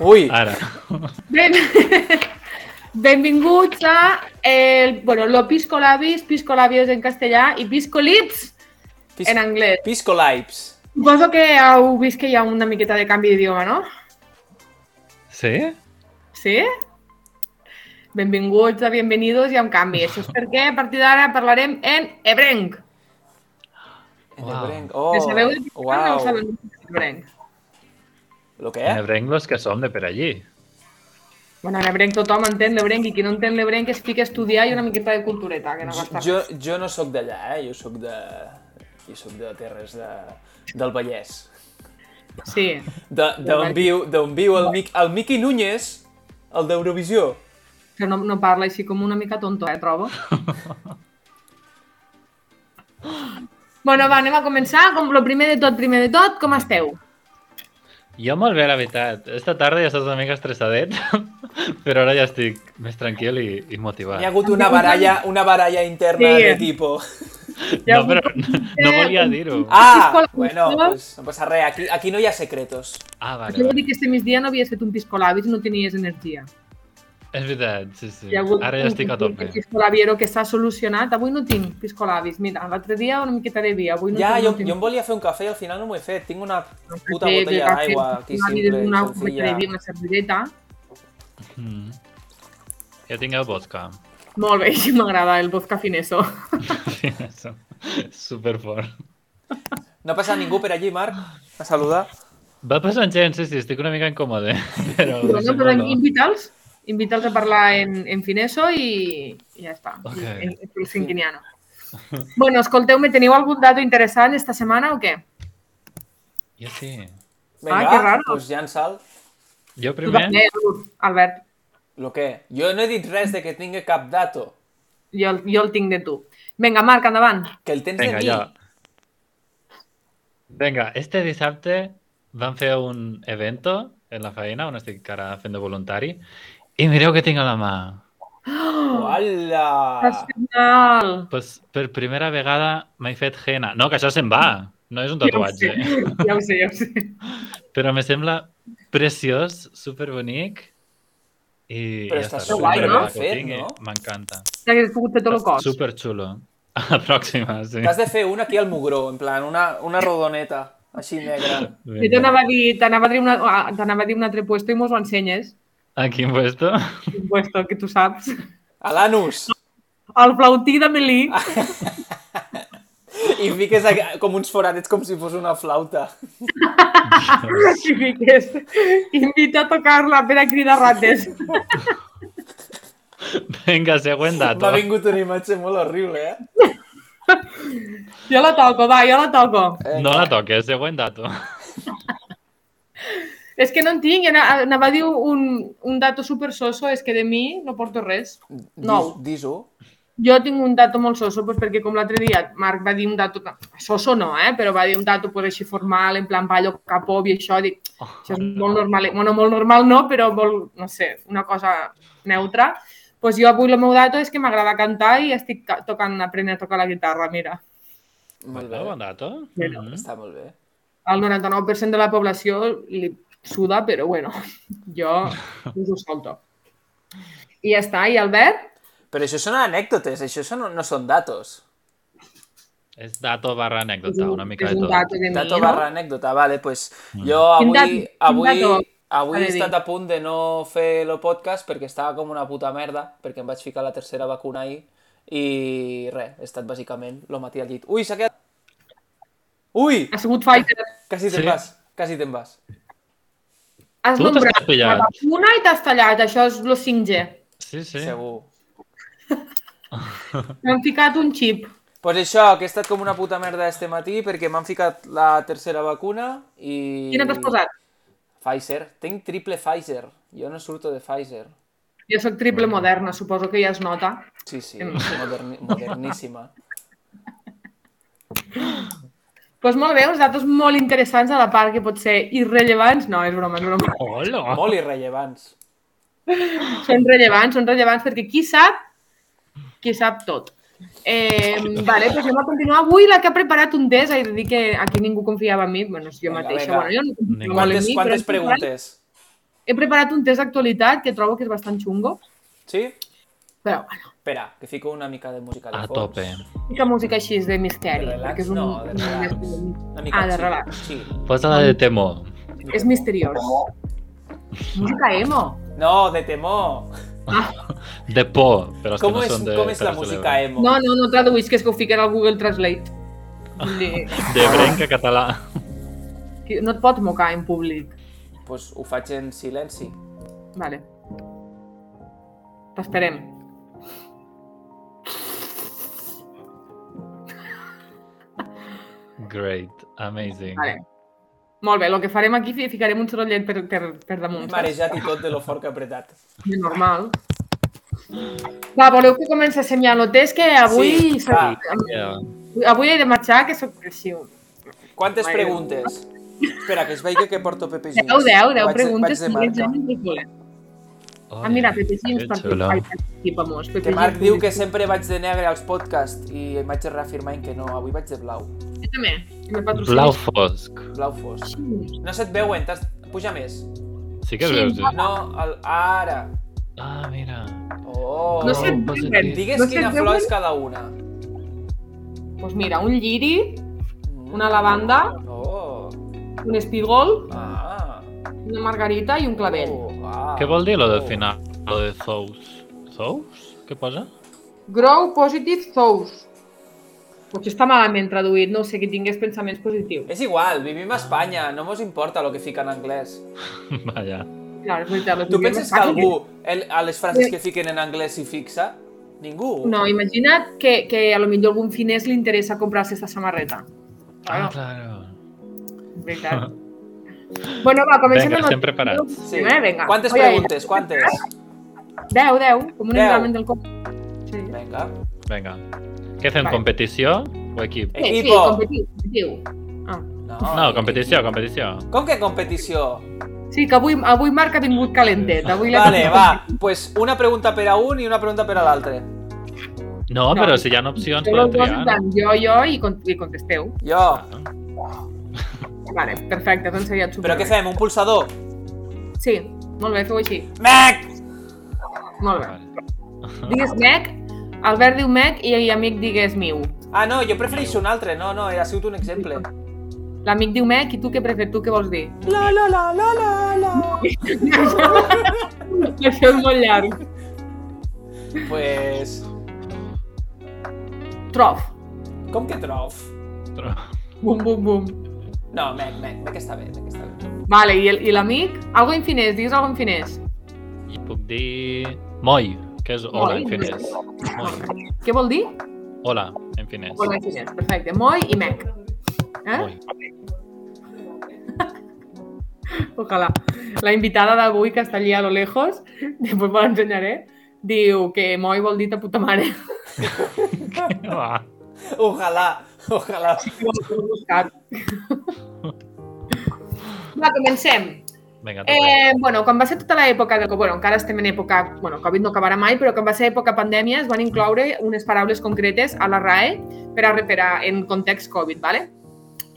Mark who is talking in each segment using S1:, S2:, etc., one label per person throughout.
S1: Ui,
S2: Ara.
S3: Ben... Benvinguts a el, bueno, lo Pisco Labis, Pisco Labios en castellà i Pisco Lips
S1: pis...
S3: en anglès.
S1: Pisco Lives.
S3: Suposo que heu vist que hi ha una miqueta de canvi d'idioma, no?
S2: Sí?
S3: Eh? Sí? Benvinguts a Bienvenidos i a un canvi. Això és perquè a partir d'ara parlarem en ebrenc.
S1: En
S2: Uau.
S1: ebrenc. Oh,
S3: Oh, sabeu de
S1: uau.
S3: wow. no ho sabeu de ebrenc.
S1: Lo que
S2: Eh?
S1: és?
S2: los que som de per allí.
S3: Bueno, en ebrenc tothom entén l'ebrenc i qui no entén l'ebrenc es fica a estudiar i una miqueta de cultureta, que no costa
S1: Jo, jo no sóc d'allà, eh? Jo sóc de... Jo sóc de terres de... del Vallès.
S3: res. Sí.
S1: De- D'on viu, d'on viu el, Mic, el Miqui Núñez, el d'Eurovisió.
S3: Però no, no parla així com una mica tonto, eh, trobo. bueno, va, anem a començar. Com lo primer de tot, primer de tot, com esteu?
S2: Jo molt bé, la veritat. Esta tarda ja estàs una mica estressadet, però ara ja estic més tranquil i, i motivat.
S1: Hi ha hagut una baralla, una baralla interna
S3: Sí.
S1: de tipo...
S2: No, però no, no volia dir-ho. Ah,
S1: Ah,
S3: Pisco-
S1: bueno, pues, no passa res, aquí, aquí no hi ha secretos.
S2: Ah, vale.
S3: Jo vull
S2: vale.
S3: dir que este migdia no havies fet un piscolabis i no tenies energia.
S2: És veritat, sí, sí.
S3: Hi ha hagut
S2: Ara
S3: un-
S2: ja estic a
S3: un
S2: tope.
S3: Piscolaviero que s'ha solucionat. Avui no tinc piscolabis. Mira, l'altre dia una miqueta de vi. Avui no
S1: Ja,
S3: tinc,
S1: jo,
S3: no tinc.
S1: jo em volia fer un cafè i al final no m'ho he fet. Tinc una puta
S3: Cafè,
S1: botella
S3: cafè,
S1: d'aigua aquí
S3: piscolabis,
S1: simple i
S3: Una miqueta de vi,
S1: senzilla.
S3: una servideta.
S2: Mm. Ja tinc el vodka.
S3: Molt bé, així m'agrada el vodka fineso.
S2: Sí, això. Superfort.
S1: No passa ningú per allí, Marc, a saludar.
S2: Va passant gent, sí, sí, estic una mica incòmode. Però,
S3: Però,
S2: si
S3: no, però
S2: no.
S3: invita'ls, invita'ls a parlar en, en fineso i, i ja està,
S2: Ok.
S3: en, en, en cinquiniano. Bueno, escolteu-me, teniu algun dato interessant esta setmana o què?
S2: Jo sí.
S1: Vinga,
S3: que raro.
S1: pues llança'l.
S2: Jo
S3: Tu també,
S2: primer...
S3: Albert,
S1: Lo que? Jo no he dit res de que tingui cap dato.
S3: jo, el- jo el tinc de tu. Vinga, Marc, endavant.
S1: Que el tens de
S2: Vinga,
S1: mi.
S2: ja. Vinga, este dissabte vam fer un evento en la feina, on estic ara fent de voluntari, i mireu què tinc a la mà.
S3: Oh, Ah,
S1: Uala!
S3: Excepcional.
S2: Pues, per primera vegada m'he fet henna. No, que això se'n va, no és un tatuatge. eh?
S3: Ja ho sé, ja ho sé.
S2: Però me sembla preciós, superbonic. I
S1: Però
S2: ja
S1: està
S2: està
S3: superguai,
S2: superbé
S3: no?
S2: que ho
S1: Fet,
S2: tingui,
S1: no?
S2: M'encanta.
S3: T'hagués pogut fer tot el cos.
S2: Superxulo. A la pròxima, sí.
S1: T'has de fer una aquí al mugró, en plan, una, una rodoneta, així negra.
S3: Jo t'anava a dir, t'anava a dir, una, ah, t'anava a dir un altre puesto i mos ho ensenyes.
S2: A quin puesto?
S3: Un puesto que tu saps.
S1: A l'anus!
S3: El flautí de Melí.
S1: I fiques aqu- com uns foradets com si fos una flauta. Ah!
S3: Si fiques, invita a tocar-la per a cridar rates.
S2: Vinga, següent dato.
S1: M'ha vingut una imatge molt horrible, eh?
S3: Jo la toco, va, jo la toco.
S2: No la toques, següent dato.
S3: És que no en tinc, i ana- anava a dir un, un dato super soso, és que de mi no porto res.
S1: Dis,
S3: No.
S1: dis-ho.
S3: Jo tinc un dato molt soso, pues, perquè com l'altre dia Marc va dir un dato, soso no, eh? però va dir un dato pues, així formal, en plan ballo capop i això, dic, això és molt normal, eh, bueno, molt normal no, però molt, no sé, una cosa neutra. Doncs pues jo avui el meu dato és que m'agrada cantar i estic ca- tocant, aprenent a tocar la guitarra, mira.
S1: Molt
S2: Ah,
S1: bé.
S2: Bon dato.
S3: Bueno.
S2: Mhm.
S1: Està molt bé.
S3: al 99% de la població li suda, però bueno, jo us ho solto. I ja està, i Albert?
S1: Però això són anècdotes, això són, no són datos.
S2: És dato barra
S3: és
S2: anècdota, una mica
S3: és
S2: de
S3: un
S2: tot.
S3: dato de mi,
S1: Dato
S3: no?
S1: barra anècdota, vale, pues jo
S3: Quin dat-
S1: avui,
S3: quin
S1: avui,
S3: dato
S1: avui
S3: ha
S1: he
S3: de dir?
S1: estat a punt de no fer el podcast perquè estava com una puta merda, perquè em vaig ficar la tercera vacuna ahir i res, he estat bàsicament el matí al llit. Ui, s'ha quedat... Ui,
S3: Ha sigut Pfizer.
S1: quasi te'n
S2: Sí.
S1: vas, quasi te'n vas.
S3: Has
S2: Tu t'has
S3: nombrat la
S2: pillat.
S3: vacuna i t'has tallat. Això és lo 5G.
S2: Sí, sí.
S1: Segur.
S3: M'han ficat un xip.
S1: Pues això, que he estat com una puta merda este matí perquè m'han ficat la tercera vacuna i...
S3: Quina t'has posat?
S1: Pfizer. Tinc triple Pfizer. Jo no surto de Pfizer.
S3: Jo sóc triple moderna, suposo que ja es nota.
S1: Sí, sí,
S3: Mm.
S1: moderni, moderníssima.
S3: Doncs pues molt bé, uns datos molt interessants a la part que pot ser irrellevants. No, és broma, és broma.
S2: Hola.
S1: Molt irrellevants.
S3: són rellevants, són rellevants perquè qui sap, qui sap tot. Eh, vale, doncs anem a continuar. Avui la que ha preparat un test, he de dir que aquí ningú confiava en mi, bueno, jo
S1: Vinga,
S3: mateixa,
S1: vinga.
S3: bueno, jo no
S2: Ningú.
S3: confiava molt
S1: Quantes,
S3: en mi, però
S1: quantes
S3: he preparat
S1: preguntes?
S3: He preparat un test d'actualitat que trobo que és bastant xungo,
S1: Sí?
S3: però bueno,
S1: Espera, que fico una mica de música de
S2: A
S1: fons.
S2: tope.
S3: mica música així de misteri.
S1: De relax,
S3: perquè és un...
S1: no, de relax. Una mica
S3: Ah, de
S1: chill,
S3: relax.
S1: chill.
S2: Posa-la Pues de temor.
S3: És misteriós. Música emo.
S1: No, de temor.
S2: De por, però els que
S1: ¿Cómo
S2: no
S1: es,
S2: són de...
S1: ¿cómo es la
S2: Terres de
S1: música
S2: l'Ebre.
S1: emo?
S3: No, no, no traduís, que és que ho fiquen al Google Translate. Vull dir,
S2: De brenca català.
S3: que No et pots mocar en públic.
S1: Pues ho faig en silenci.
S3: Vale. T'esperem.
S2: Great, amazing.
S3: Vale. Molt bé, el que farem aquí fi- ficarem un sorollet per, per, per
S1: M'he
S3: damunt. saps?
S1: marejat i tot de lo fort que he apretat.
S3: És normal. Va, voleu que comença ensenyant el test que avui...
S1: Sí, va.
S2: Yeah.
S3: Avui he de marxar, que soc... Sí,
S1: Quantes
S3: Mare
S1: preguntes? Espera, que es vegi que porto Pepe Junts.
S3: 10, 10, 10
S1: Vaig de-
S3: preguntes.
S1: Vaig de
S3: i
S1: marca.
S3: gens de voler.
S2: Oh,
S3: Ah, mira, Pepe Sims
S2: que xulo.
S3: participa molt. Pepe
S1: Que Marc
S3: Sims
S1: diu que sempre vaig de negre als podcasts i em vaig reafirmant que no, avui vaig de blau.
S3: Jo també. Me
S2: Blau fosc.
S1: Blau fosc.
S3: Sí,
S1: No se't veuen, t'has... Puja més.
S2: Sí que
S3: Sí,
S2: veus. eh?
S1: No, el... ara.
S2: Ah, mira.
S1: Oh.
S3: No se't
S2: Oh,
S3: veuen.
S2: positiu.
S1: Digues
S3: no se't
S1: quina flor
S3: veuen.
S1: és cada una.
S3: Doncs mira, un lliri, Una lavanda.
S1: Oh.
S3: un espigol,
S1: Ah.
S3: una margarita i un clavell.
S1: Oh, ah.
S2: Què vol dir lo del
S1: Oh.
S2: final? Lo de thous. Thous? Què posa?
S3: Grow positive thoughts. Potser està malament traduït, no ho sé, que tingués pensaments positius.
S1: És igual, vivim a Espanya, no mos importa lo que fica en anglès.
S2: Vaja.
S3: Clar, és veritat. les
S1: Tu
S3: dues
S1: penses que
S3: parts-
S1: algú el, a les frases que fiquen en anglès s'hi fixa? Ningú?
S3: No, imagina't que, que a lo millor algun finès li interessa comprar-se aquesta samarreta.
S2: Ah,
S3: Claro,
S2: claro.
S3: és veritat. bueno, va, comencem
S2: Vinga,
S3: amb el-
S2: estem preparats.
S1: Sí.
S3: Eh, vinga.
S1: Quantes
S3: Oi, oi.
S1: preguntes? Quantes?
S3: 10, 10, com un
S1: Deu.
S3: examen del cop. Sí.
S1: Vinga.
S2: Vinga. Què fem,
S3: Vale.
S2: competició o equip?
S3: Sí, sí,
S1: Equipo.
S3: competiu, competiu. Ah.
S2: No, competició, competició.
S1: Com que competició?
S3: Sí, que avui, avui Marc ha vingut calentet. Avui l'he
S1: Vale,
S3: tingut
S1: va, pues una pregunta per a un i una pregunta per a l'altre.
S2: No,
S3: No.
S2: però si hi ha opcions,
S3: Feu
S2: podeu
S3: les dues en
S2: triar.
S3: plan, jo, jo, i, con i contesteu.
S1: Jo.
S3: Vale, perfecte, doncs seria super.
S1: Però què fem, un pulsador?
S3: Sí, molt bé, feu així.
S1: Mec!
S3: Molt bé.
S2: Vale.
S3: Digues mec, Albert diu mec i, i amic digues miu.
S1: Ah, no, jo prefereixo un altre. No, no, ha sigut un exemple.
S3: L'amic diu mec i tu què prefer, tu què vols dir?
S1: La, la, la, la, la, la.
S3: Això és molt llarg.
S1: Pues...
S3: Trof.
S1: Com que trof?
S3: Bum, bum, bum.
S1: No, mec, mec, mec està bé, mec està bé.
S3: Vale, i el- i l'amic? Algo en finès, digues algo en finès.
S2: I puc dir... Moi, que és hola
S3: Moi,
S2: en finès. Moi.
S3: Què vol dir?
S2: Hola en finès.
S3: Algo en finès, perfecte. Moi i mec. Eh?
S2: Moi.
S3: Ojalà. La invitada d'avui, que està allí a lo lejos, després me l'ensenyaré, diu que moi vol dir ta puta mare.
S2: Va.
S1: Ojalà, ojalà.
S3: Va, comencem.
S2: Vinga, tope.
S3: Eh, bueno, quan va ser tota l'època de... Bueno, encara estem en època... Bueno, Covid no acabarà mai, però quan va ser època pandèmia es van incloure unes paraules concretes a la RAE per a, per a, en context Covid, ¿vale?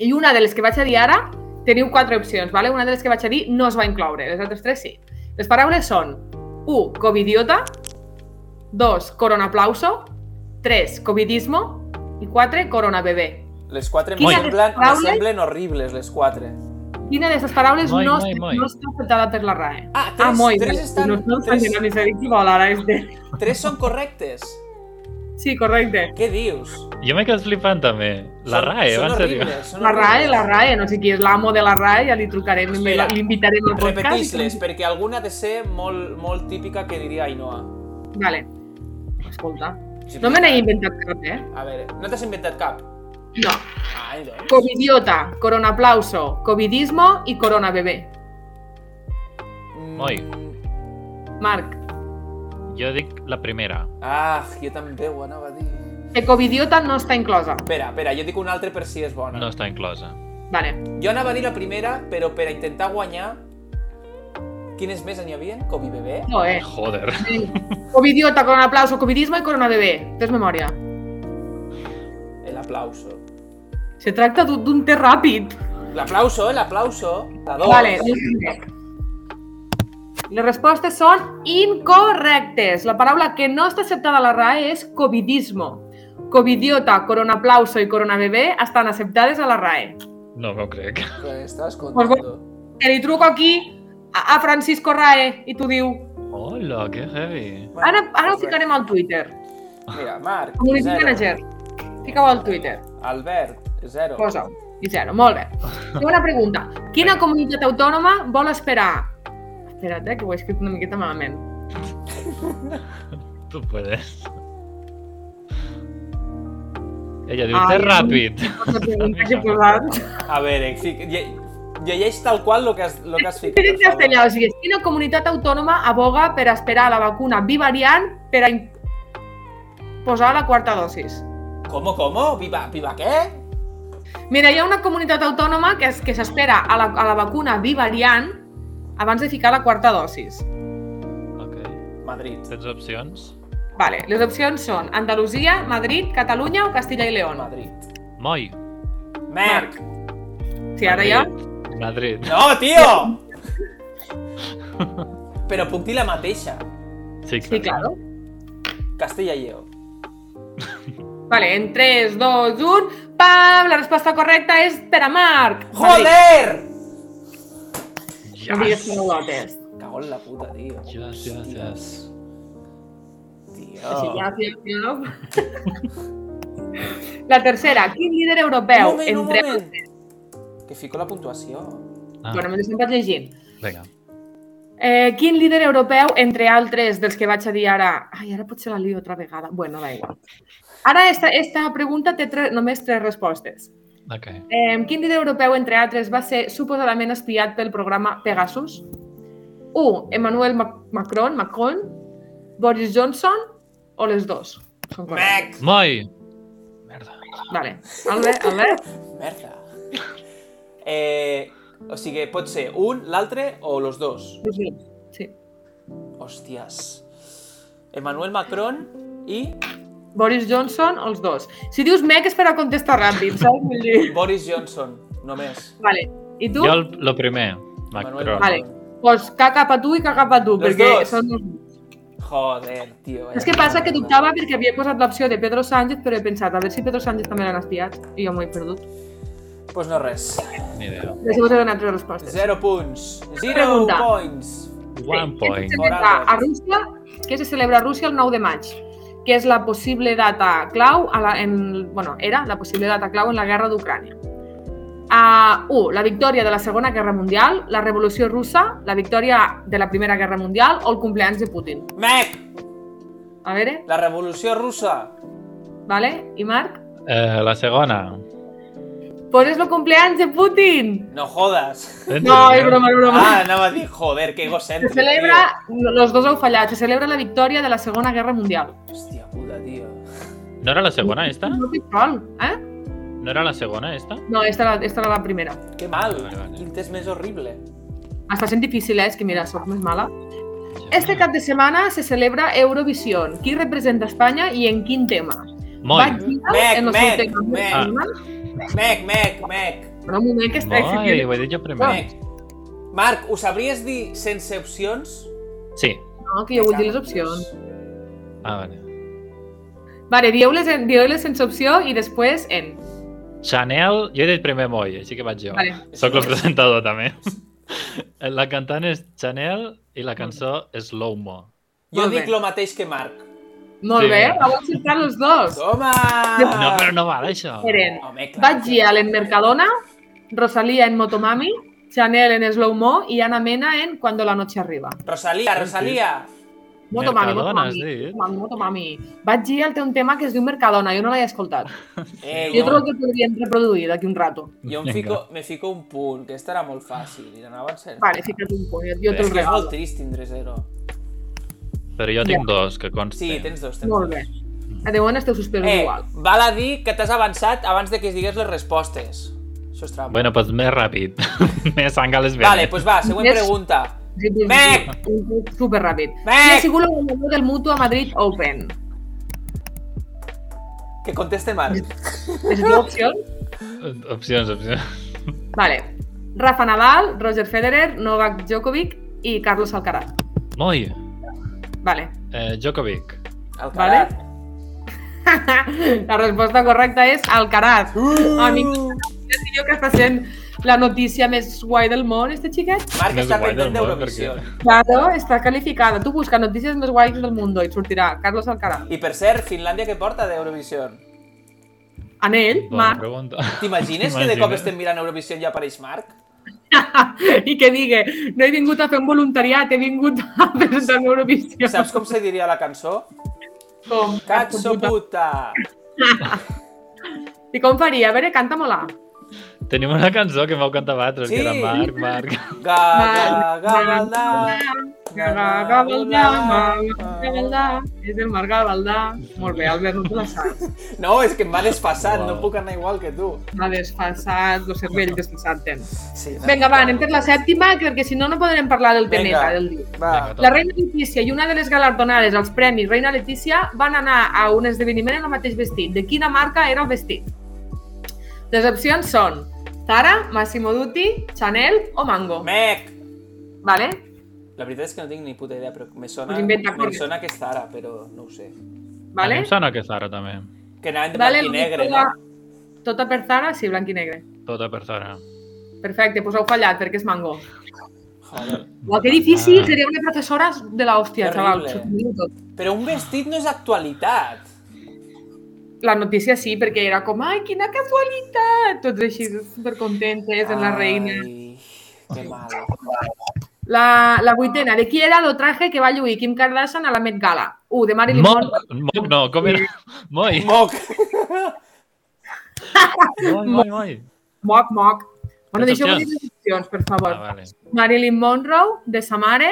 S3: I una de les que vaig a dir ara, teniu quatre opcions, ¿vale? Una de les que vaig a dir no es va incloure, les altres tres sí. Les paraules són 1. Covidiota 2. Coronaplauso 3. Covidismo i 4. Coronabebé.
S1: Les quatre em
S2: Moi.
S1: semblen, em
S3: Paraules?
S1: semblen horribles, les quatre.
S3: Quina d'aquestes paraules
S2: Moi,
S3: no,
S2: moi,
S3: està-
S2: moi.
S3: no està afectada per la RAE?
S1: Ah, tres,
S3: Ah, moi,
S1: tres, estan,
S3: no estan
S1: tres,
S3: fent la que vol ara, és de...
S1: tres són correctes.
S3: Sí, correcte.
S1: Què dius?
S2: Jo m'he quedat flipant també. La
S1: Són-
S2: RAE,
S1: són
S2: va en sèrio.
S1: horribles, són
S3: La RAE,
S1: horribles.
S3: la RAE, no sé qui és l'amo de la RAE, ja li trucarem, i
S1: Espera.
S3: l'invitarem al podcast.
S1: Repetís-les, perquè alguna ha de ser molt, molt típica que diria Ainhoa.
S3: Vale. Escolta,
S1: Sí,
S3: no me n'he inventat cap, eh?
S1: A veure, no t'has inventat cap?
S3: No.
S1: Ai, doncs.
S3: Covidiota, coronaplauso, covidismo i coronabebé.
S1: Mm.
S2: Moi.
S3: Marc,
S2: Jo dic la primera.
S1: Ah, jo també ho anava a dir.
S3: que covidiota no està inclosa.
S1: Espera, espera, jo dic una altra per si és bona.
S2: No està inclosa.
S3: Vale.
S1: Jo anava a dir la primera, però per a intentar guanyar... Quines més n'hi havia? Com i bebè?
S3: No, eh?
S2: Joder.
S3: Covidiota, coronaplauso, covidismo i coronabebé. Tens memòria.
S1: El aplauso.
S3: Se tracta d'un- d'un té ràpid.
S1: Oh. eh, L'aplauso, l'aplauso. La dos.
S3: Vale, no sé. Les respostes són incorrectes. La paraula que no està acceptada a la RAE és covidismo. Covidiota, coronaplauso i coronabebé estan acceptades a la RAE.
S2: No m'ho crec.
S1: Que estàs contando.
S3: Te li truco aquí a, a Francisco RAE i tu diu
S2: Hola, que heavy.
S1: Bueno,
S3: ara, ara ho
S1: perfecte.
S3: ficarem al Twitter.
S1: Mira, Marc,
S3: Community
S1: zero.
S3: Manager, fica-ho al Twitter.
S1: Albert, zero.
S3: Posa-ho. I zero. Molt bé. Segona pregunta. Quina comunitat autònoma vol esperar? Espera't, eh, que ho he escrit una miqueta malament.
S2: Tu puedes. Ella diu,
S3: Ai,
S2: té ràpid.
S3: Posa pregunta que he posat.
S1: A veure, fic... lle- llegeix tal qual lo que has, lo que has ficat,
S3: En
S1: per favor.
S3: castellà, o sigui, quina comunitat autònoma aboga per esperar la vacuna bivariant per a in- posar la quarta dosis?
S1: ¿Cómo, cómo? ¿Viva, viva qué?
S3: Mira, hi ha una comunitat autònoma que es- que s'espera a, la, a la vacuna bivariant abans de ficar la quarta dosis.
S2: Ok.
S1: Madrid.
S2: Tens opcions?
S3: Vale, les opcions són Andalusia, Madrid, Catalunya o Castilla i León.
S1: Madrid.
S2: Moi.
S1: Merck.
S3: Sí, ara ja...
S2: Madrid.
S1: No, tío! Però puc dir la mateixa.
S2: Sí,
S3: Sí, claro.
S1: Castella i Lleó.
S3: Vale, en 3, 2, 1... ¡Pam! La resposta correcta és per a Marc.
S1: Joder!
S3: Madrid. No digues
S2: Yes.
S3: que no ho tens.
S1: Cago en la puta, tío.
S2: Yes, yes, yes.
S3: Així,
S1: Tío.
S3: ja, sí, sí, no? La tercera, quin líder europeu?
S1: Un moment, un
S3: entre...
S1: moment. Que fico la puntuació.
S2: Ah,
S3: Bueno, mentre se'n vaig llegint.
S2: vinga.
S3: Eh, quin líder europeu, entre altres dels que vaig a dir ara... Ai, ara potser la lio altra vegada. Bueno, da igual. Ara, esta, esta pregunta té tre, només tres respostes.
S2: Ok.
S3: Eh, quin líder europeu, entre altres, va ser suposadament espiat pel programa Pegasus? 1. Emmanuel Mac Macron, Macron, Boris Johnson o les dos? Són correctes.
S1: Merck.
S2: Moi. Merda.
S3: Vale. Albert, Albert?
S1: Merda. Eh, o sigui, pot ser un, l'altre o los dos.
S3: Sí. sí.
S1: Hòsties. Emmanuel Macron i
S3: Boris Johnson o els dos. Si dius mec és per a contestar ràpid, saps? Vull dir...
S1: Boris Johnson, només.
S3: Vale. I tu?
S2: Jo el, lo primer. Macron.
S3: Vale. Doncs que cap a tu i que cap a tu,
S1: Los
S3: perquè
S1: dos.
S3: són...
S1: Joder, tio. eh. vaya
S3: És que passa que
S1: merda.
S3: dubtava perquè havia posat l'opció de Pedro Sánchez, però he pensat, a veure si Pedro Sánchez també l'han espiat, i jo m'ho he perdut.
S1: Pues Doncs no res.
S2: Ni idea.
S3: Després us he donat tres respostes.
S1: Zero punts. Zero
S3: Pregunta.
S1: points.
S2: One point.
S3: Que se celebra a Rússia, que se celebra a Rússia el 9 de maig, que és la possible data clau, a la, en, bueno, era la possible data clau en la guerra d'Ucrània. Uh, 1. La victòria de la Segona Guerra Mundial, la Revolució Russa, la victòria de la Primera Guerra Mundial o el cumpleaños de Putin.
S1: Mec,
S3: A veure,
S1: la revolució russa.
S3: vale? I Marc?
S2: Eh, la segona.
S3: Pues és el cumpleaños de Putin!
S1: No jodas.
S2: Tens
S3: No,
S2: idea?
S3: és broma, és broma.
S1: Ah, anava a dir, joder, que egocèntric,
S3: Se celebra, los dos heu fallat, se celebra la victòria de la Segona Guerra Mundial.
S1: tio. Hòstia puta, tio.
S2: No era la segona, esta?
S3: No té sol, eh?
S2: No era la segona, esta?
S3: No, esta era, esta era la primera.
S1: Que mal.
S2: Vale, vale.
S1: Quin test més horrible.
S3: Està sent difícil, eh? És que mira, sóc més mala. Este cap de setmana se celebra Eurovisión. Qui representa Espanya i en quin tema?
S2: Moi.
S3: Bach Vidal
S1: Mec,
S3: en el
S1: mec,
S3: seu tema.
S1: mec.
S3: Ah.
S1: Mec, mec, mec,
S3: Però un moment que està
S2: Moi, ho
S3: exigint.
S2: he dit jo primer.
S1: mec. Marc, ho sabries dir sense opcions?
S2: Sí.
S3: No, que jo vull dir les opcions.
S2: Ah, vale.
S3: Vale, dieu-les en- dieu-les sense opció i després en.
S2: Chanel, jo he dit primer Moi, així que vaig jo.
S3: Vale.
S2: Soc el presentador, també. La cantant és Chanel i la cançó és Slow Mo.
S1: Jo
S3: Molt bé.
S1: dic lo mateix que Marc.
S3: Molt
S2: Sí.
S3: bé, vau acceptar els dos.
S1: Toma!
S2: No, però no val, això.
S3: Eren
S1: Home, clar.
S3: Bach Gial en Mercadona, Rosalía en Motomami, Chanel en Slow Mo i Ana Mena en Cuando la noche arriba.
S1: Rosalia, Rosalia.
S3: Motomami,
S2: Mercadona,
S3: Motomami,
S2: has dit?
S3: Motomami, Motomami. Bach Gial té un tema que es diu Mercadona, jo no l'he escoltat.
S1: Eh,
S3: Jo
S1: jo,
S3: trobo que podríem reproduir d'aquí un rato.
S1: jo em
S2: Vinga.
S1: fico, me fico un punt, que esta era molt fàcil. I anava a ser.
S3: Vale, fica't un punt, jo, jo
S1: Però
S3: te'l
S1: és que és molt
S3: regalo.
S1: trist tindre zero.
S2: Però jo tinc dos, que consti.
S1: Sí, tens dos, tens
S3: Molt
S1: dos.
S3: bé. A Déu esteu suspesos
S1: Eh,
S3: igual.
S1: val a dir que t'has avançat abans de que es digués les respostes. Això és trampa.
S2: Bueno, pues més ràpid. més sanga les venes.
S1: vale, doncs pues va, següent
S3: Més-
S1: pregunta.
S3: Sí, sí, sí,
S1: Mec!
S3: sí, Super ràpid.
S1: Mec!
S3: Qui ha sigut el guanyador del Mutu a Madrid Open?
S1: Que conteste Marc.
S3: Les dues opcions?
S2: Opcions, opcions.
S3: Vale. Rafa Nadal, Roger Federer, Novak Djokovic i Carlos Alcaraz.
S2: Moi,
S3: Vale.
S2: eh, Djokovic.
S1: Alcaraz.
S3: La resposta correcta és Alcaraz.
S1: Uh!
S3: Amic, el tio que està sent la notícia més guai del món, este xiquet.
S1: Marc
S2: No és
S1: està
S2: guai del
S1: pendent
S2: món,
S1: d'Eurovisió.
S3: Claro, està qualificada. Tu busca notícies més guais del món i et sortirà Carlos Alcaraz.
S1: I per cert, Finlàndia què porta d'Eurovisió?
S3: Anell,
S2: Bona
S3: Marc,
S2: pregunta.
S1: T'imagines que de cop estem mirant Eurovisió i ja apareix Marc?
S3: i que digue, no he vingut a fer un voluntariat, he vingut a presentar Eurovisió.
S1: Saps com se diria la cançó?
S3: Com?
S1: Cazzo puta!
S3: I com faria? A veure, canta mola.
S2: Tenim una cançó que vau cantar vosaltres, que era
S1: Sí.
S2: Marc, Marc.
S1: Ga, ga, ga, ga,
S3: Gavaldà, Marc Gavaldà, és el Marc Gavaldà. Molt bé, Albert, no te la saps.
S1: No, és que em va despassat, no
S2: Uau.
S1: puc anar igual que tu.
S3: M'ha desfassat, el cervell desfassat tens.
S1: Sí,
S3: Vinga, va, anem per la sèptima, perquè si no, no podrem parlar del Teneta
S1: Vinga.
S3: del dia.
S1: Va.
S3: La reina Letícia i una de les galardonades als Premis Reina Letícia van anar a un esdeveniment en el mateix vestit. De quina marca era el vestit? Les opcions són Zara, Massimo Dutti, Chanel o Mango.
S1: Mec!
S3: Vale?
S1: La veritat és que no tinc ni puta idea, però me sona,
S3: Us inventa
S1: me
S3: coses.
S1: sona que és Zara, però no ho sé.
S2: Vale.
S3: Vale?
S2: Em sona que és Sara, també.
S1: Que anaven de
S3: Vale,
S1: blanc i negre,
S3: tota,
S1: no?
S3: tota per Zara, sí, blanc i negre.
S2: Tota per Sara.
S3: Perfecte, pues heu fallat, perquè és mango.
S1: Joder.
S3: Uau, que difícil,
S2: Ah.
S3: seria una professora de l'hòstia, xaval.
S1: Terrible.
S3: s'ho tot.
S1: Però un vestit no és actualitat.
S3: La notícia sí, perquè era com, ai, quina casualitat! Tots així, supercontentes, en
S1: Ah,
S3: la reina.
S1: Ai, que mal.
S3: La, la vuitena, de qui era el traje que va lluir Kim Kardashian a la Met Gala? U, de Marilyn
S2: Moc,
S3: Monroe.
S2: moc no, com era? Moi,
S1: Moc!
S2: moi, moi, moi.
S3: Moc, moc. Bueno,
S2: Les
S3: deixeu me
S2: opcions.
S3: les opcions, per
S2: Ah,
S3: favor.
S2: vale.
S3: Marilyn Monroe, de sa mare,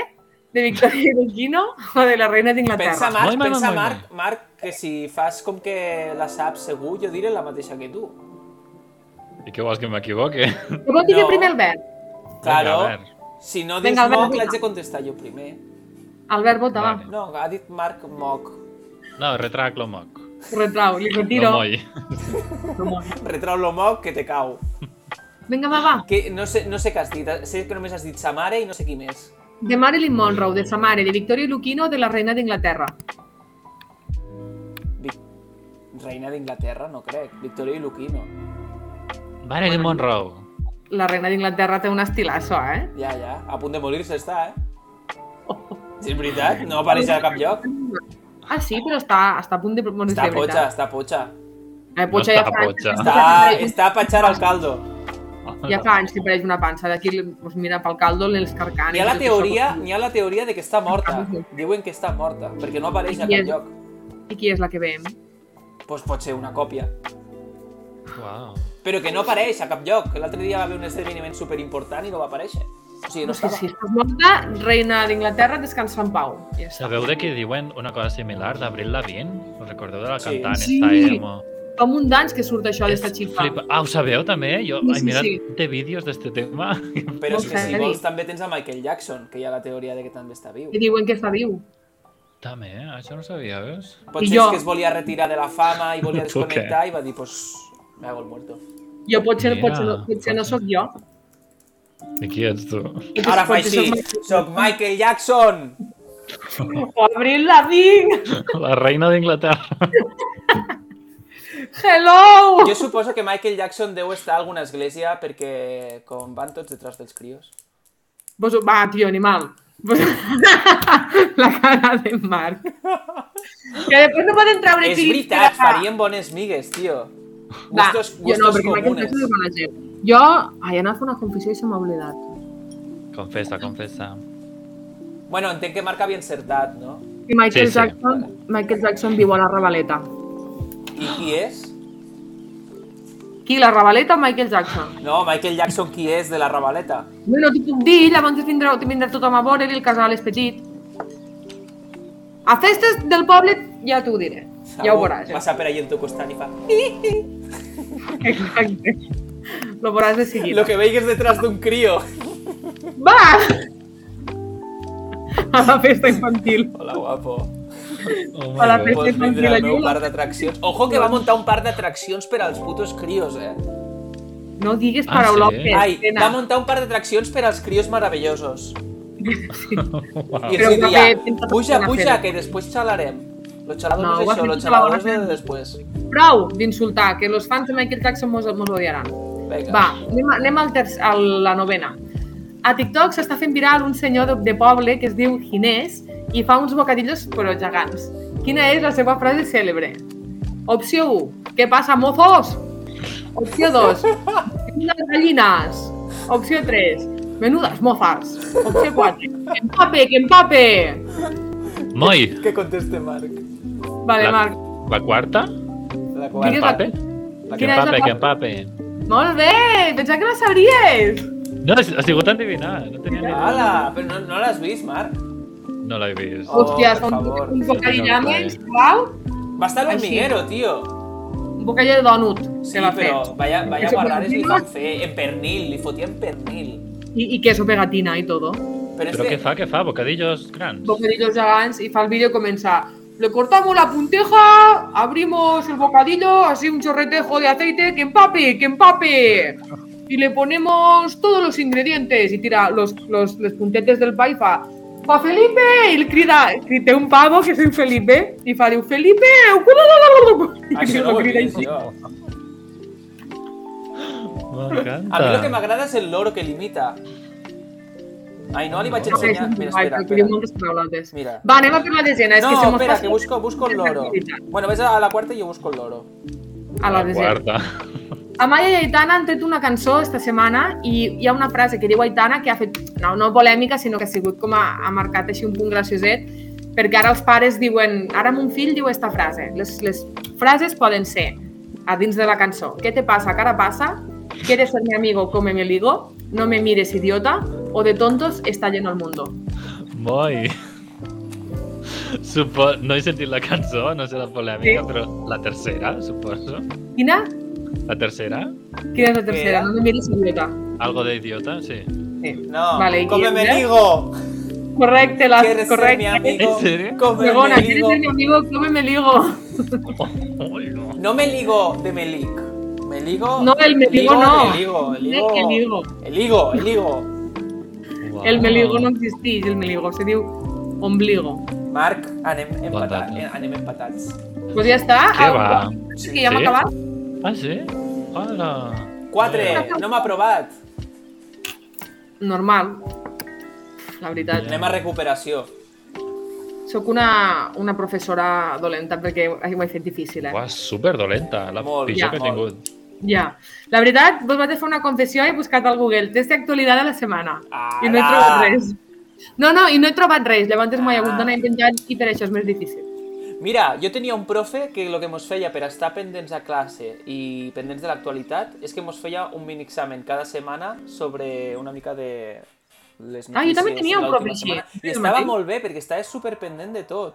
S3: de Victoria Regino o de la
S1: Pensa,
S3: reina d'Inglaterra?
S1: Marc,
S2: Moi, moi,
S1: pensa,
S2: moi, moi.
S1: Marc, Marc, que si fas com que la saps segur, jo diré la mateixa que tu.
S2: I què vols que m'equivoque?
S3: Que vol dir
S1: No.
S3: no. primer Albert.
S1: Claro,
S2: Vinga, a veure.
S1: si no dius
S3: Vinga, Albert,
S1: moc,
S3: vinga.
S1: l'haig de contestar jo primer.
S3: Albert, vota, va.
S2: Vale.
S1: No, ha dit Marc moc.
S2: No, retrac lo moc.
S3: Ho Retrau, li retiro.
S2: No, moi.
S3: No, moi.
S1: Retrau lo moc que te cau.
S3: Vinga, va, va.
S1: Que no sé, no sé què has dit, sé que només has dit sa mare i no sé qui més.
S3: De Marilyn Monroe, de sa mare, de Victoria Luquino, de la reina d'Inglaterra.
S1: Vic... Reina d'Inglaterra, no crec. Victoria i Luquino.
S2: Marilyn Monroe.
S3: La reina d'Inglaterra té un estilasso, eh?
S1: Ja, ja, a punt de morir-se està, eh? Sí, és veritat, no apareix a cap lloc.
S3: Ah, sí, però està, està a punt de... Bueno,
S1: Està
S3: de veritat.
S1: potxa, està potxa.
S3: Eh, potxa
S2: No
S3: ja
S2: està
S3: fa
S2: potxa.
S3: anys.
S1: Està, està a patxar al caldo.
S3: Ja fa anys que pareix una pansa. D'aquí, doncs mira, pel caldo, els carcans...
S1: N'hi ha la teoria, n'hi ha la teoria de que està morta. Diuen que està morta, perquè no apareix a cap lloc.
S3: I qui és la que veiem?
S1: Doncs pot ser una còpia.
S2: Uau.
S1: Però que no apareix a cap lloc. que L'altre dia va haver un esdeveniment superimportant i no va aparèixer. O sigui, no
S3: No sé
S1: estava.
S3: Doncs si estàs morta, reina d'Inglaterra, descansa en pau. Ja està.
S2: Sabeu de què diuen una cosa similar d'Abril Lavigne? Us recordeu de la
S1: Sí.
S2: cantant?
S3: Sí.
S2: Esta emo.
S3: Fa un munt d'anys que surt això d'esta xica.
S2: Flipa. Ah, ho sabeu també? Jo
S3: Sí,
S2: he
S3: sí,
S2: mirat
S3: sí.
S2: de vídeos d'este tema.
S1: Però és que si
S3: Molt
S1: vols
S3: heavy.
S1: també tens a Michael Jackson, que hi ha la teoria de que també està viu.
S3: I diuen que està viu.
S2: També, eh? això no ho sabia, veus?
S1: Potser
S3: jo.
S1: és Pues que es volia retirar de la fama i volia
S2: Tu
S1: desconnectar i va dir, pues, me hago el muerto.
S3: Jo potser,
S2: Mira,
S3: potser, no, potser no
S2: potser.
S3: sóc jo.
S2: I qui ets tu?
S1: Ara fa
S3: Potser
S1: així,
S3: sóc
S1: soc Michael Jackson!
S3: Michael- Abril Lavigne!
S2: La reina d'Inglaterra.
S3: Hello!
S1: Jo suposo que Michael Jackson deu estar a alguna església perquè com van tots detrás dels crios.
S3: Vos, va, tio, animal. Vos... la cara de Marc. Que després no poden treure
S1: És
S3: clips
S1: veritat,
S3: que-
S1: farien bones migues, tio.
S3: Va,
S1: Gustos,
S3: jo no,
S1: gustos
S3: perquè Michael
S1: comunes.
S3: Jackson és bona gent. Jo, ai, he anat a fer una confessió i se m'ha oblidat.
S2: Confessa, confessa.
S1: Bueno, entenc que Marc havia encertat, no?
S3: I Michael,
S2: Sí, sí.
S3: Jackson, Michael Jackson viu a la Ravaleta.
S1: I qui és?
S3: Qui, la Ravaleta o Michael Jackson?
S1: No, Michael Jackson qui és de la Ravaleta?
S3: No, no t'ho puc dir, llavors vindrà, vindrà tothom a veure el casal és petit. A festes del poble ja t'ho diré. Ja ho veuràs.
S1: Passa per allà al teu costat i fa...
S3: Exacte. Lo veuràs de seguida.
S1: Lo que veig és detrás d'un crio.
S3: Va! A la festa infantil.
S1: Hola, guapo.
S2: Oh
S3: A la
S2: my God.
S3: festa
S1: Pots vindre
S3: infantil.
S1: al meu
S3: allò-
S1: parc d'atraccions. Ojo que va muntar un parc d'atraccions per als putos crios, eh?
S3: No digues
S2: Ah,
S3: paraulotes.
S2: sí?
S1: Ai,
S3: nena.
S1: va muntar un parc d'atraccions per als crios meravellosos. I
S2: Ah.
S3: Sí. Però
S1: els
S3: un
S1: diria,
S3: paper
S1: puja,
S3: pensa persona
S1: puja,
S3: fer-ho".
S1: que després xalarem. Los xaladors
S3: No,
S1: no, és
S3: ho has
S1: això,
S3: dit
S1: los
S3: tota la
S1: xaladors
S3: bona
S1: és
S3: fe.
S1: de després.
S3: Prou d'insultar, que els fans de Michael Jackson mos, mos odiaran.
S1: Vinga.
S3: Va, anem, a- anem al terç, a la novena. A TikTok s'està fent viral un senyor de, de poble que es diu Ginés i fa uns bocadillos però gegants. Quina és la seva frase cèlebre? Opció 1. Què passa, mozos? Opció 2. Unes gallines. Opció 3. Menudes mozas. Opció 4. Que empape, que empape.
S2: Moi,
S1: Que conteste Marc.
S3: Vale,
S2: La-
S3: Marc.
S2: la quarta?
S1: La
S3: Digues
S1: quarta.
S3: la-
S2: Empape?
S1: La
S2: Que
S3: Quina és
S1: quarta.
S3: la
S2: empape, que
S3: quarta?
S2: empape.
S3: Molt bé! Pensava que la sabries!
S2: No, ha sigut endevinar, no tenia ni idea.
S1: Ala, però no, no l'has vist, Marc?
S2: No l'he vist.
S1: Oh,
S3: Hòstia,
S1: per
S3: fa un,
S1: favor.
S3: un bocadillo
S2: Senyor
S3: llames,
S2: Clay.
S3: igual,
S1: Va estar el
S3: Així.
S1: Miguero, tio.
S3: un bocadillo de donut
S1: Sí,
S3: se l'ha
S1: però
S3: fet.
S1: vaya, vaya
S3: Eso
S1: guardares li
S3: continua.
S1: fan fer en pernil, li fotien pernil.
S3: I, I queso pegatina i todo.
S1: Però,
S2: Però
S1: este...
S2: què fa, què fa? Bocadillos grans?
S3: Bocadillos gegants i fa el vídeo comença Le cortamos la punteja, abrimos el bocadillo, así un chorretejo de aceite, que empape, que empape. Y le ponemos todos los ingredientes y tira los, los, los puntetes del pa i fa Pa Felipe! I li crida, i té un pavo que es diu Felipe i fa, diu, Felipe!
S1: Això Ah, no eh, ho he
S3: crida i
S1: vist, jo. A mi el que
S2: M'encanta.
S1: m'agrada és el loro que l'imita. Ai, no li vaig
S3: No,
S1: ensenyar. Mira, espera,
S3: que diu
S1: espera.
S3: moltes paraulotes.
S1: Mira.
S3: Va, anem a per la desena, és
S1: No,
S3: que se mos
S1: espera,
S3: passa
S1: que busco, busco el loro. Bueno, ves a la quarta i jo busco el loro.
S3: a la desena.
S2: Quarta.
S3: Amaya i Aitana han tret una cançó esta setmana i hi ha una frase que diu Aitana que ha fet, no, no polèmica, sinó que ha sigut com ha, ha marcat així un punt gracioset, perquè ara els pares diuen, ara mon fill diu esta frase. Les, les frases poden ser a dins de la cançó. Què te passa, cara passa? ¿Quieres ser mi amigo, come mi ligo? No me mires, idiota. O de tontos está lleno el mundo.
S2: Moi. Supo... No he sentit la cançó, no sé la polèmica,
S3: Sí.
S2: però la tercera, suposo.
S3: Quina?
S2: La tercera?
S3: Quina és la
S1: Queda.
S3: tercera? No me mires, idiota.
S2: Algo de idiota, sí.
S3: Sí.
S1: No,
S3: Vale, i
S1: come
S3: quina?
S1: menigo.
S3: Correcte, la
S1: ¿Quieres ser mi
S3: correcte.
S1: amigo?
S2: ¿En serio?
S1: Come
S3: Segona, ¿quieres
S1: menigo.
S3: ser mi amigo? Come me ligo.
S2: Ui, no.
S1: No me ligo de Melic. Me ligo.
S3: No, el me ligo no.
S1: El ligo, el ligo.
S3: El ligo.
S1: El ligo, el ligo.
S2: Uau.
S3: El meligo no existeix, el meligo, se diu ombligo.
S1: Marc, anem, empatat,
S2: data.
S1: anem empatats.
S3: Doncs pues ja està.
S2: Què
S3: Ah,
S2: va?
S3: És que ja hem
S2: Sí?
S3: acabat.
S2: Ah, sí? Hola.
S1: 4, no m'ha aprovat.
S3: Normal. La veritat.
S1: Anem a recuperació.
S3: Sóc una, una professora dolenta perquè ho he fet difícil, eh?
S2: Uau, super dolenta. La
S1: Molt, ja,
S2: pitjor que he
S1: molt.
S2: tingut.
S3: Ja. La veritat, vos vaig a fer una confessió i he buscat al Google. Test d'actualitat de la setmana. I no he
S1: Ara!
S3: trobat res. No, no, i no he trobat res. Llavors m'ho he hagut
S1: Ah.
S3: d'anar inventant i per això és més difícil.
S1: Mira, jo tenia un profe que el que mos feia per estar pendents a classe i pendents de l'actualitat és que mos feia un mini examen cada setmana sobre una mica de les notícies
S3: Ah, jo també tenia
S1: de
S3: un
S1: l'última
S3: profe així.
S1: setmana. I
S3: El
S1: estava
S3: mateix.
S1: molt bé perquè estava superpendent de tot.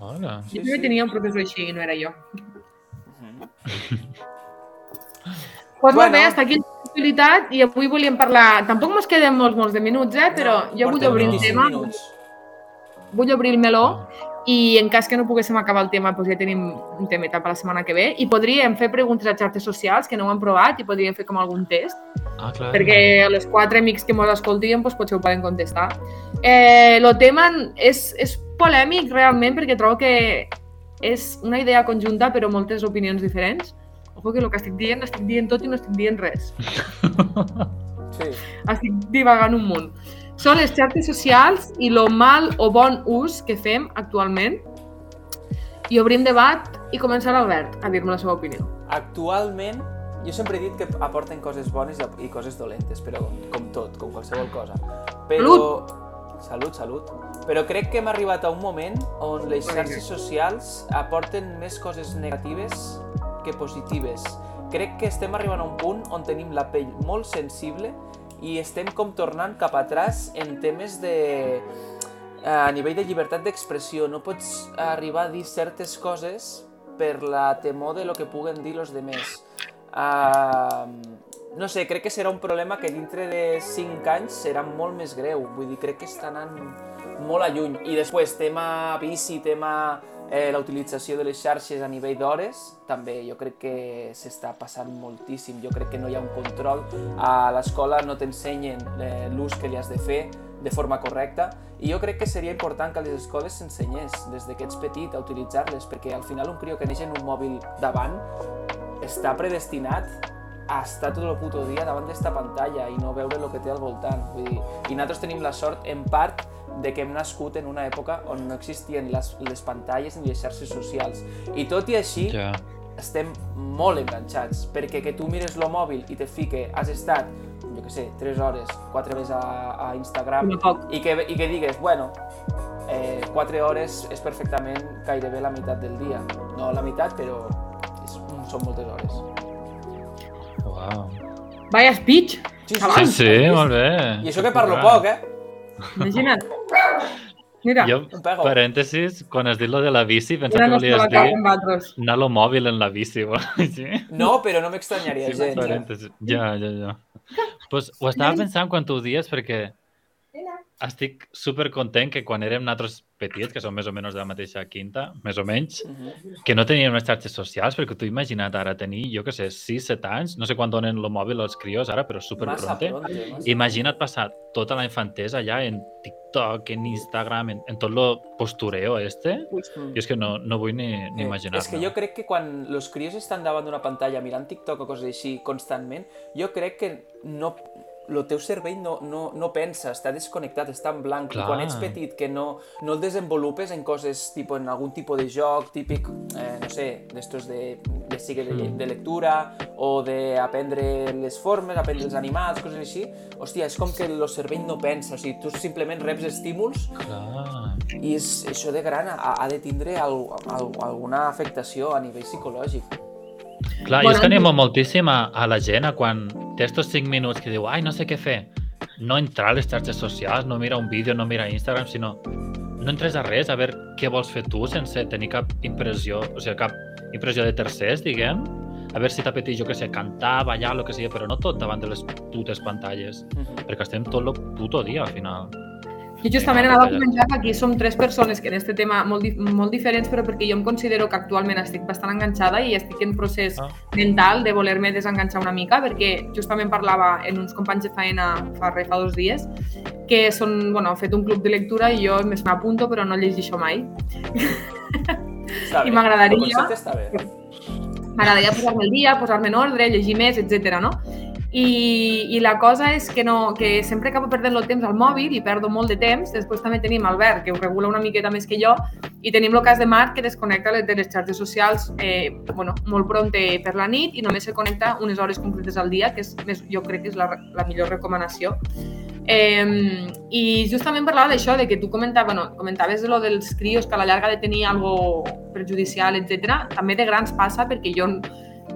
S2: Hola.
S1: Sí,
S3: Jo també
S1: sí.
S3: tenia un professor així i no era jo. Pues molt
S1: Bueno.
S3: bé, hasta aquí l'actualitat i avui volíem parlar... Tampoc mos queden molts, molts de minuts, eh? Però jo vull
S1: portem
S3: obrir el
S1: 25
S3: tema,
S1: minuts. Ah.
S3: vull obrir el meló
S2: Ah,
S3: i en cas que no poguéssim acabar el tema, doncs ja tenim un temeta per la setmana que ve i podríem fer preguntes a xarxes socials que no ho han provat i podríem fer com algun test
S2: Ah, clar.
S3: perquè els quatre amics que mos escoltien doncs potser ho poden contestar. Eh, el tema és, és polèmic realment perquè trobo que és una idea conjunta però moltes opinions diferents. Ojo que el que estic dient, estic dient tot i no estic dient res.
S1: Sí.
S3: Estic divagant un munt. Són les xarxes socials i lo mal o bon ús que fem actualment. I obrim debat i comença l'Albert a dir-me la seva opinió.
S1: Actualment, jo sempre he dit que aporten coses bones i- i coses dolentes, però com tot, com qualsevol cosa. Però... Salut! Salut, salut. Però crec que hem arribat a un moment on les xarxes socials aporten més coses negatives que positives. Crec que estem arribant a un punt on tenim la pell molt sensible i estem com tornant cap atrás en temes de... eh, a nivell de llibertat d'expressió. No pots arribar a dir certes coses per la temor de lo que puguen dir los demés. Ehm, no sé, crec que serà un problema que dintre de 5 anys serà molt més greu. Vull dir, crec que està anant molt a lluny. I després, tema bici, tema eh, la utilització de les xarxes a nivell d'hores també jo crec que s'està passant moltíssim. Jo crec que no hi ha un control. A l'escola no t'ensenyen eh, l'ús que li has de fer de forma correcta i jo crec que seria important que a les escoles s'ensenyés des de que ets petit a utilitzar-les perquè al final un crió que neix en un mòbil davant està predestinat a estar tot el puto dia davant d'esta pantalla i no veure el que té al voltant. Vull dir, I nosaltres tenim la sort, en part, de que hem nascut en una època on no existien les, les pantalles ni les xarxes socials. I tot i així,
S2: Ja.
S1: estem molt enganxats, perquè que tu mires lo mòbil i te fique, has estat, jo que sé, 3 hores, 4 hores a, a Instagram,
S3: No poc.
S1: i que, i que digues, bueno, eh, 4 hores és perfectament gairebé la meitat del dia. No la meitat, però és, són moltes hores.
S2: Uau.
S3: Vaya speech,
S2: Sí,
S3: Xaval.
S2: sí, molt bé.
S1: Ah, I això que parlo poc, eh?
S3: imagina't. Mira,
S2: Jo,
S1: Em pego.
S2: parèntesis, quan has dit lo de la bici, pensava
S3: era
S2: que
S3: nostra
S2: volies
S3: la cara
S2: dir
S3: amb altres.
S2: anar lo mòbil en la bici o alguna cosa així.
S1: No, però no m'extranyaria
S2: Sí,
S1: sí, gens. eh?
S2: parèntesis. Ja, ja, ja. Pues, ho estava pensant quan tu ho dies perquè estic super content que quan érem nosaltres petits, que som més o menys de la mateixa quinta, més o menys,
S1: Mhm.
S2: que no teníem les xarxes socials, perquè tu imagina't ara tenir, jo que sé, 6, 7 anys, no sé quan donen el mòbil als crios ara, però super
S1: Massa
S2: pronte.
S1: pronte, massa.
S2: Imagina't passar tota la infantesa allà en TikTok, en Instagram, en, en tot lo postureo este.
S1: Mm.
S2: Jo és que no, no vull ni, ni
S1: Eh,
S2: imaginar-me.
S1: És que jo crec que quan los crios estan davant d'una pantalla mirant TikTok o coses així constantment, jo crec que no, el teu cervell no, no, no pensa, està desconnectat, està en blanc.
S2: Clar.
S1: I quan ets petit que no, no el desenvolupes en coses, tipus, en algun tipus de joc típic, eh, no sé, d'estos de, ja sigui de,
S2: Mm.
S1: de lectura o d'aprendre les formes, aprendre els animals, coses així, hòstia, és com que el cervell no pensa, o sigui, tu simplement reps estímuls
S2: Clar.
S1: i és, això de gran ha, ha de tindre al, al, alguna afectació a nivell psicològic.
S2: Clar, bueno,
S3: Bueno,
S2: jo és que
S3: en-
S2: animo moltíssim a, a la gent a quan té estos 5 minuts que diu, ai, no sé què fer. No entrar a les xarxes socials, no mira un vídeo, no mira Instagram, sinó no entres a res, a veure què vols fer tu sense tenir cap impressió, o sigui, cap impressió de tercers, diguem. A veure si t'apetit, jo que sé, cantar, ballar, el que sigui, però no tot davant de les putes pantalles,
S3: Mhm.
S2: perquè estem tot el puto dia, al final.
S3: Jo justament
S2: Vinga,
S3: anava a
S2: detalla.
S3: comentar que aquí som tres persones que en este tema molt, dif molt diferents, però perquè jo em considero que actualment estic bastant enganxada i estic en procés
S2: Ah.
S3: mental de voler-me desenganxar una mica, perquè justament parlava en uns companys de faena fa, re, fa dos dies, que són, bueno, han fet un club de lectura i jo més m'apunto, però no llegeixo mai.
S1: Està
S3: I
S1: bé.
S3: m'agradaria-
S1: El concepte està bé.
S3: M'agradaria posar-me al dia, posar-me en ordre, llegir més, etc. no? I, I la cosa és que, no, que sempre acabo perdent el temps al mòbil i perdo molt de temps. Després també tenim Albert, que ho regula una miqueta més que jo, i tenim el cas de Marc, que desconnecta les- de les xarxes socials eh, bueno, molt prompte per la nit i només se connecta unes hores concretes al dia, que és, més, jo crec que és la, la millor recomanació. Eh, I justament parlava d'això, de que tu comentava, bueno, comentaves lo dels crios que a la llarga de tenir algo perjudicial, etc. També de grans passa perquè jo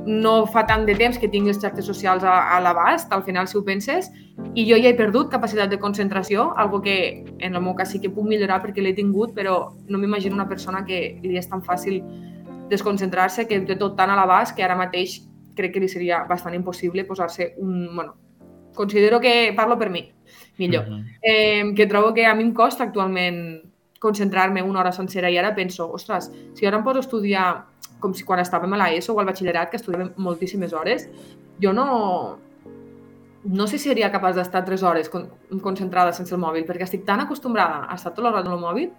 S3: no fa tant de temps que tinc les xarxes socials a, a l'abast, al final si ho penses, i jo ja he perdut capacitat de concentració, algo que en el meu cas sí que puc millorar perquè l'he tingut, però no m'imagino una persona que li és tan fàcil desconcentrar-se, que té tot tan a l'abast que ara mateix crec que li seria bastant impossible posar-se un... Bueno, considero que parlo per mi, millor
S2: Mhm.
S3: eh, que trobo que a mi em costa actualment concentrar-me una hora sencera i ara penso, ostres, si ara em poso a estudiar com si quan estàvem a l'ESO o al batxillerat, que estudiàvem moltíssimes hores, jo no... No sé si seria capaç d'estar tres hores con concentrada sense el mòbil, perquè estic tan acostumbrada a estar tota l'hora amb el mòbil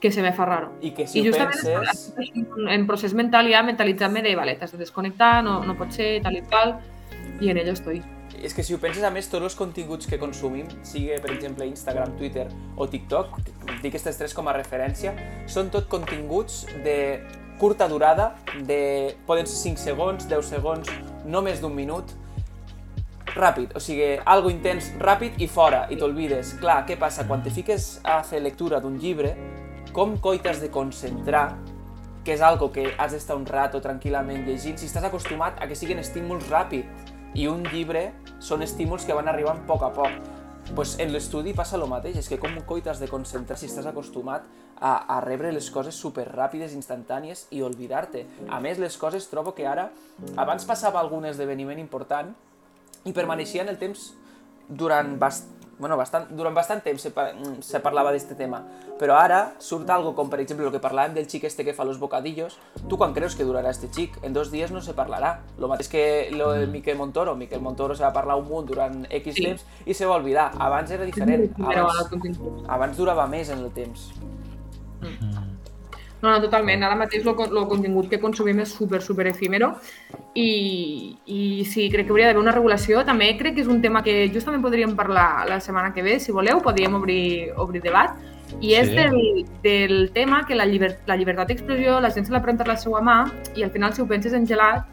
S3: que se me fa raro.
S1: I que si
S3: I
S1: ho
S3: justament
S1: penses...
S3: En- En procés mental ja mentalitzar-me de, vale, t'has de desconnectar, no, no pot ser, tal i tal, i en ello estoy.
S1: És que si ho penses, a més, tots els continguts que consumim, sigui, per exemple, Instagram, Twitter o TikTok, dic aquestes tres com a referència, són tot continguts de curta durada, de poden ser 5 segons, 10 segons, no més d'un minut, ràpid, o sigui, algo intens, ràpid i fora, i t'olvides. Clar, què passa? Quan te fiques a fer lectura d'un llibre, com coi t'has de concentrar que és algo que has d'estar un rato tranquil·lament llegint, si estàs acostumat a que siguin estímuls ràpid i un llibre són estímuls que van arribant a poc a poc. Pues en l'estudi passa el mateix, és que com un coi t'has de concentrar si estàs acostumat a, a rebre les coses superràpides, instantànies i oblidar-te. A més, les coses trobo que ara, abans passava algun esdeveniment important i permaneixia en el temps durant bast bueno, bastant, durant bastant temps se, pa- mm, se parlava d'aquest tema, però ara surt algo com, per exemple, el que parlàvem del xic este que fa los bocadillos, tu quan creus que durarà este xic? En dos dies no se parlarà. Lo mateix que lo de Miquel Montoro. Miquel Montoro se va parlar un munt durant X
S3: Sí.
S1: temps i se va oblidar. Abans era diferent.
S3: Però ara
S1: Abans,
S3: continua.
S1: abans durava més en el temps.
S3: No, no, totalment. Ara mateix el contingut que consumim és super, super efímero i, i sí, crec que hauria d'haver una regulació. També crec que és un tema que justament podríem parlar la setmana que ve, si voleu, podríem obrir, obrir debat. I és
S2: Sí.
S3: del, del tema que la, lliber, la llibertat d'expressió, la gent se la pren per la seva mà i al final, si ho penses en gelat,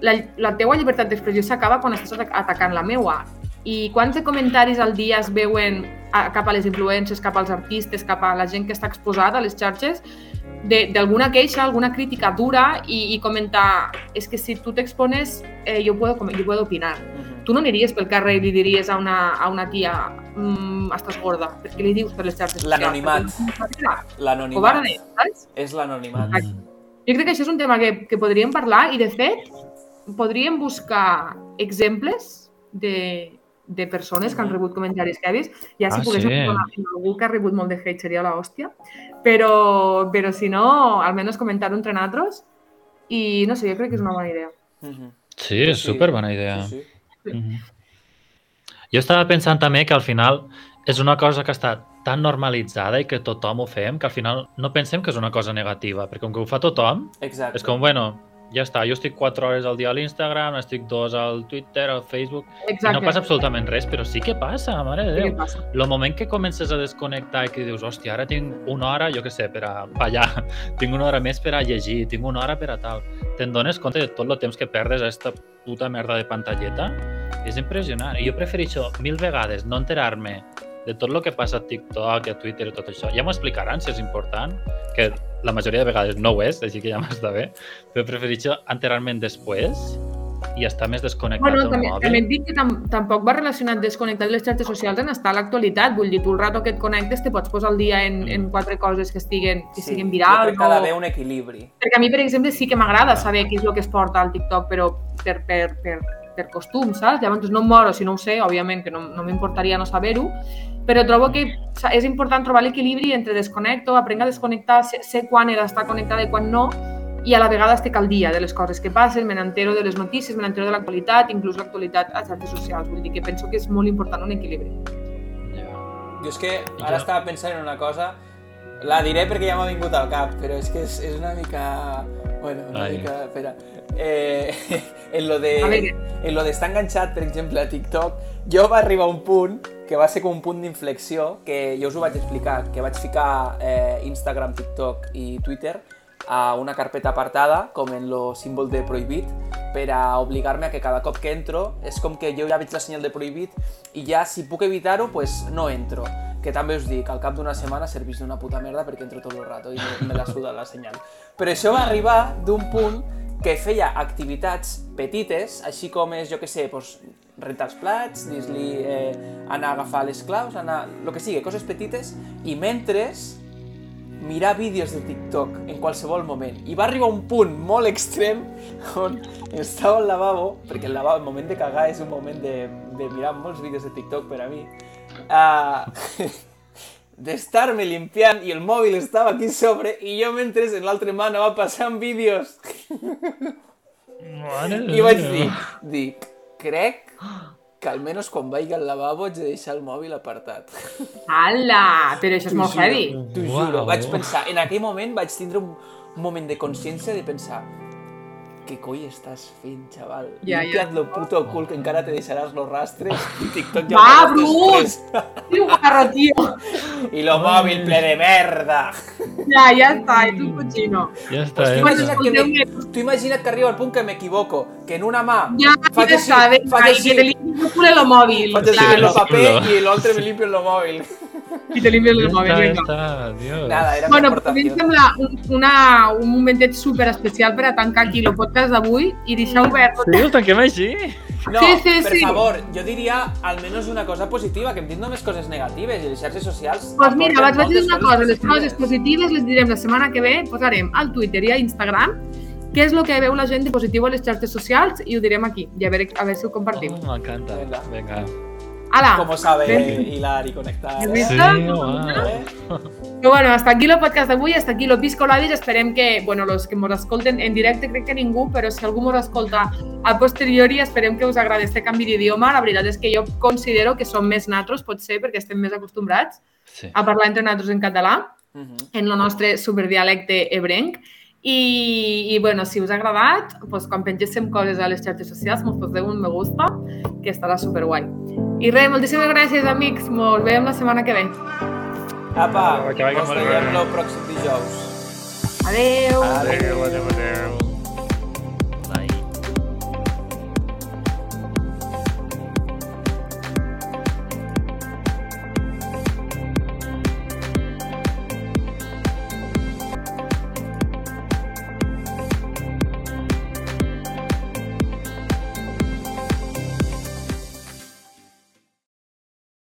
S3: la, la teua llibertat d'expressió s'acaba quan estàs atac- atacant la meua. I quants de comentaris al dia es veuen a, cap a les influències, cap als artistes, cap a la gent que està exposada a les xarxes, de- d'alguna queixa, alguna crítica dura i, i comentar, és que si tu t'expones, eh, jo, puedo, com- jo puedo opinar.
S1: Mhm.
S3: Tu no aniries pel carrer i li diries a una, a una tia mm, estàs gorda, perquè li dius per les xarxes socials.
S1: L'anonimat. L'anonimat.
S3: Covarde, saps?
S1: És l'anonimat.
S2: Mm.
S3: Jo crec que això és un tema que, que podríem parlar i, de fet, podríem buscar exemples de, de persones que han rebut comentaris que he vist. Ja si
S2: Mm. Ah,
S3: poguéssim
S2: sí.
S3: parlar amb algú que ha rebut molt de hate seria la hòstia, però, però si no, almenys comentar-ho entre nosaltres i no sé, jo crec que és una bona idea.
S1: Mhm.
S2: Sí, és
S1: Sí,
S2: super bona idea.
S1: Sí, sí.
S2: Mhm. Jo estava pensant també que al final és una cosa que està tan normalitzada i que tothom ho fem que al final no pensem que és una cosa negativa, perquè com que ho fa tothom,
S1: Exacte.
S2: és com, bueno, ja està, jo estic 4 hores al dia a l'Instagram, estic 2 al Twitter, al Facebook, i no passa absolutament res, però sí que passa, mare de
S3: Sí,
S2: Déu.
S3: què passa?
S2: El moment que comences a desconnectar i que dius, hòstia, ara tinc una hora, jo què sé, per a ballar, tinc una hora més per a llegir, tinc una hora per a tal, te'n dones compte de tot el temps que perdes a aquesta puta merda de pantalleta? És impressionant. I jo prefereixo mil vegades no enterar-me de tot el que passa a TikTok, a Twitter i tot això. Ja m'ho explicaran si és important, que la majoria de vegades no ho és, així que ja m'està bé, però prefereixo enterar-me'n després i estar més desconnectat
S3: Bueno,
S2: del
S3: també,
S2: mòbil.
S3: també et dic que tam tampoc va relacionat desconnectar de les xarxes socials en estar a l'actualitat. Vull dir, tu el rato que et connectes te pots posar al dia en,
S2: Mm.
S3: en quatre coses que estiguen, que siguin
S1: jo
S3: virals.
S1: crec que ha
S3: o-
S1: d'haver un equilibri.
S3: Perquè a mi, per exemple, sí que m'agrada saber què és el que es porta al TikTok, però per, per, per, per costum, saps? Llavors no em moro si no ho sé, òbviament, que no, no m'importaria no saber-ho, però trobo que sa- és important trobar l'equilibri entre desconnecto, aprenc a desconnectar, sé, sé quan he d'estar connectada i quan no, i a la vegada estic al dia de les coses que passen, me n'entero de les notícies, me n'entero de l'actualitat, inclús l'actualitat a xarxes socials. Vull dir que penso que és molt important un equilibri.
S2: Ja.
S1: Jo és que
S2: Jo-
S1: ara estava pensant en una cosa, la diré perquè ja m'ha vingut al cap, però és que és, és una mica... Bueno, una
S2: Ai.
S1: mica... Espera. Eh, en lo de...
S3: A veure.
S1: En lo d'estar enganxat, per exemple, a TikTok, jo va arribar a un punt que va ser com un punt d'inflexió, que jo us ho vaig explicar, que vaig ficar eh, Instagram, TikTok i Twitter a una carpeta apartada, com en lo símbol de prohibit, per a obligar-me a que cada cop que entro és com que jo ja veig la senyal de prohibit i ja si puc evitar-ho, pues no entro. Que també us dic, al cap d'una setmana serveix d'una puta merda perquè entro tot el rato i me, me la suda la senyal. Però això va arribar d'un punt que feia activitats petites, així com és, jo que sé, doncs, rentar els plats, dir-li eh, anar a agafar les claus, anar... el que sigui, coses petites, i mentre mirar vídeos de TikTok en qualsevol moment. I va arribar un punt molt extrem on estava al lavabo, perquè el lavabo, el moment de cagar és un moment de, de mirar molts vídeos de TikTok per a mi, uh, d'estar-me limpiant i el mòbil estava aquí sobre i jo mentre en l'altra mà anava passant vídeos
S2: Mare de
S1: i vaig
S2: Déu.
S1: dir, dic, crec que almenys quan vagi al lavabo haig de deixar el mòbil apartat.
S3: Hala! Però això és molt
S1: juro,
S3: heavy.
S1: T'ho
S2: Uau.
S1: juro, vaig pensar, en aquell moment vaig tindre un, un moment de consciència de pensar què coi estàs fent, xaval?
S3: Ja, ja.
S1: Limpia't lo puto cul que encara te deixaràs los rastres i TikTok ho
S3: Va,
S1: faràs
S3: Brut!
S1: després.
S3: Tio, guarro, tio!
S1: I lo mòbil ple de merda!
S3: Ja, ja està, ets un cochino.
S2: Ja està,
S1: Hosti,
S2: eh?
S1: vaig-
S3: Bueno, escolteu-me.
S1: Tu imagina't que arriba el punt que m'equivoco, que en una mà
S3: Ja,
S1: faig
S3: ja
S1: així,
S3: està, bé,
S1: faig
S3: ai,
S1: així,
S3: que te limpio el cul el mòbil.
S1: faig així
S2: Clar.
S1: en el paper
S2: Xulo.
S1: i l'altre me limpio el mòbil.
S3: I te limpio
S2: Ja
S3: el
S2: està,
S3: mòbil,
S2: ja
S3: vinga.
S2: està, Dios.
S1: Nada, era
S3: Bueno,
S1: mi
S3: però a mi em
S1: aportació.
S3: sembla un, una, un momentet super especial per a tancar aquí el podcast d'avui i deixar obert
S2: Sí, el tanquem així?
S1: No,
S3: Sí, sí,
S1: per
S3: sí.
S1: favor, jo diria almenys una cosa positiva, que hem dit només coses negatives i les xarxes socials...
S3: Doncs Pues mira, vaig, vaig dir una cosa,
S1: aporten moltes
S3: les coses positives les direm la setmana que ve, posarem al Twitter i a Instagram què és el que veu la gent de positiu a les xarxes socials i ho direm aquí, i a veure, a veure si ho compartim.
S2: Oh, m'encanta.
S1: Vinga.
S2: Vinga.
S3: Ala,
S1: Como sabe
S3: ven.
S1: hilar y conectar.
S3: Sí.
S1: ¿eh?
S2: Sí, uau.
S1: ¿Eh?
S3: Però bueno, hasta aquí el podcast d'avui, hasta aquí lo Pisco Ladies. Esperem que, bueno, los que mos escolten en directe, crec que ningú, però si algú mos escolta a posteriori, esperem que us agradi este canvi d'idioma. La veritat és que jo considero que som més natros, pot ser, perquè estem més acostumbrats
S2: Sí.
S3: a parlar entre natros en català,
S1: Mhm.
S3: en el nostre superdialecte ebrenc. I, i bueno, si us ha agradat, doncs, quan pengéssim coses a les xarxes socials, mos poseu un me gusta, que estarà superguai. I res, moltíssimes gràcies, amics. Mos veiem la setmana que ve.
S1: Apa,
S2: Que vagi
S1: ens
S2: molt bé.
S1: veiem el pròxim dijous.
S3: Adeu!
S1: Adéu.
S2: Adéu, adéu, adéu.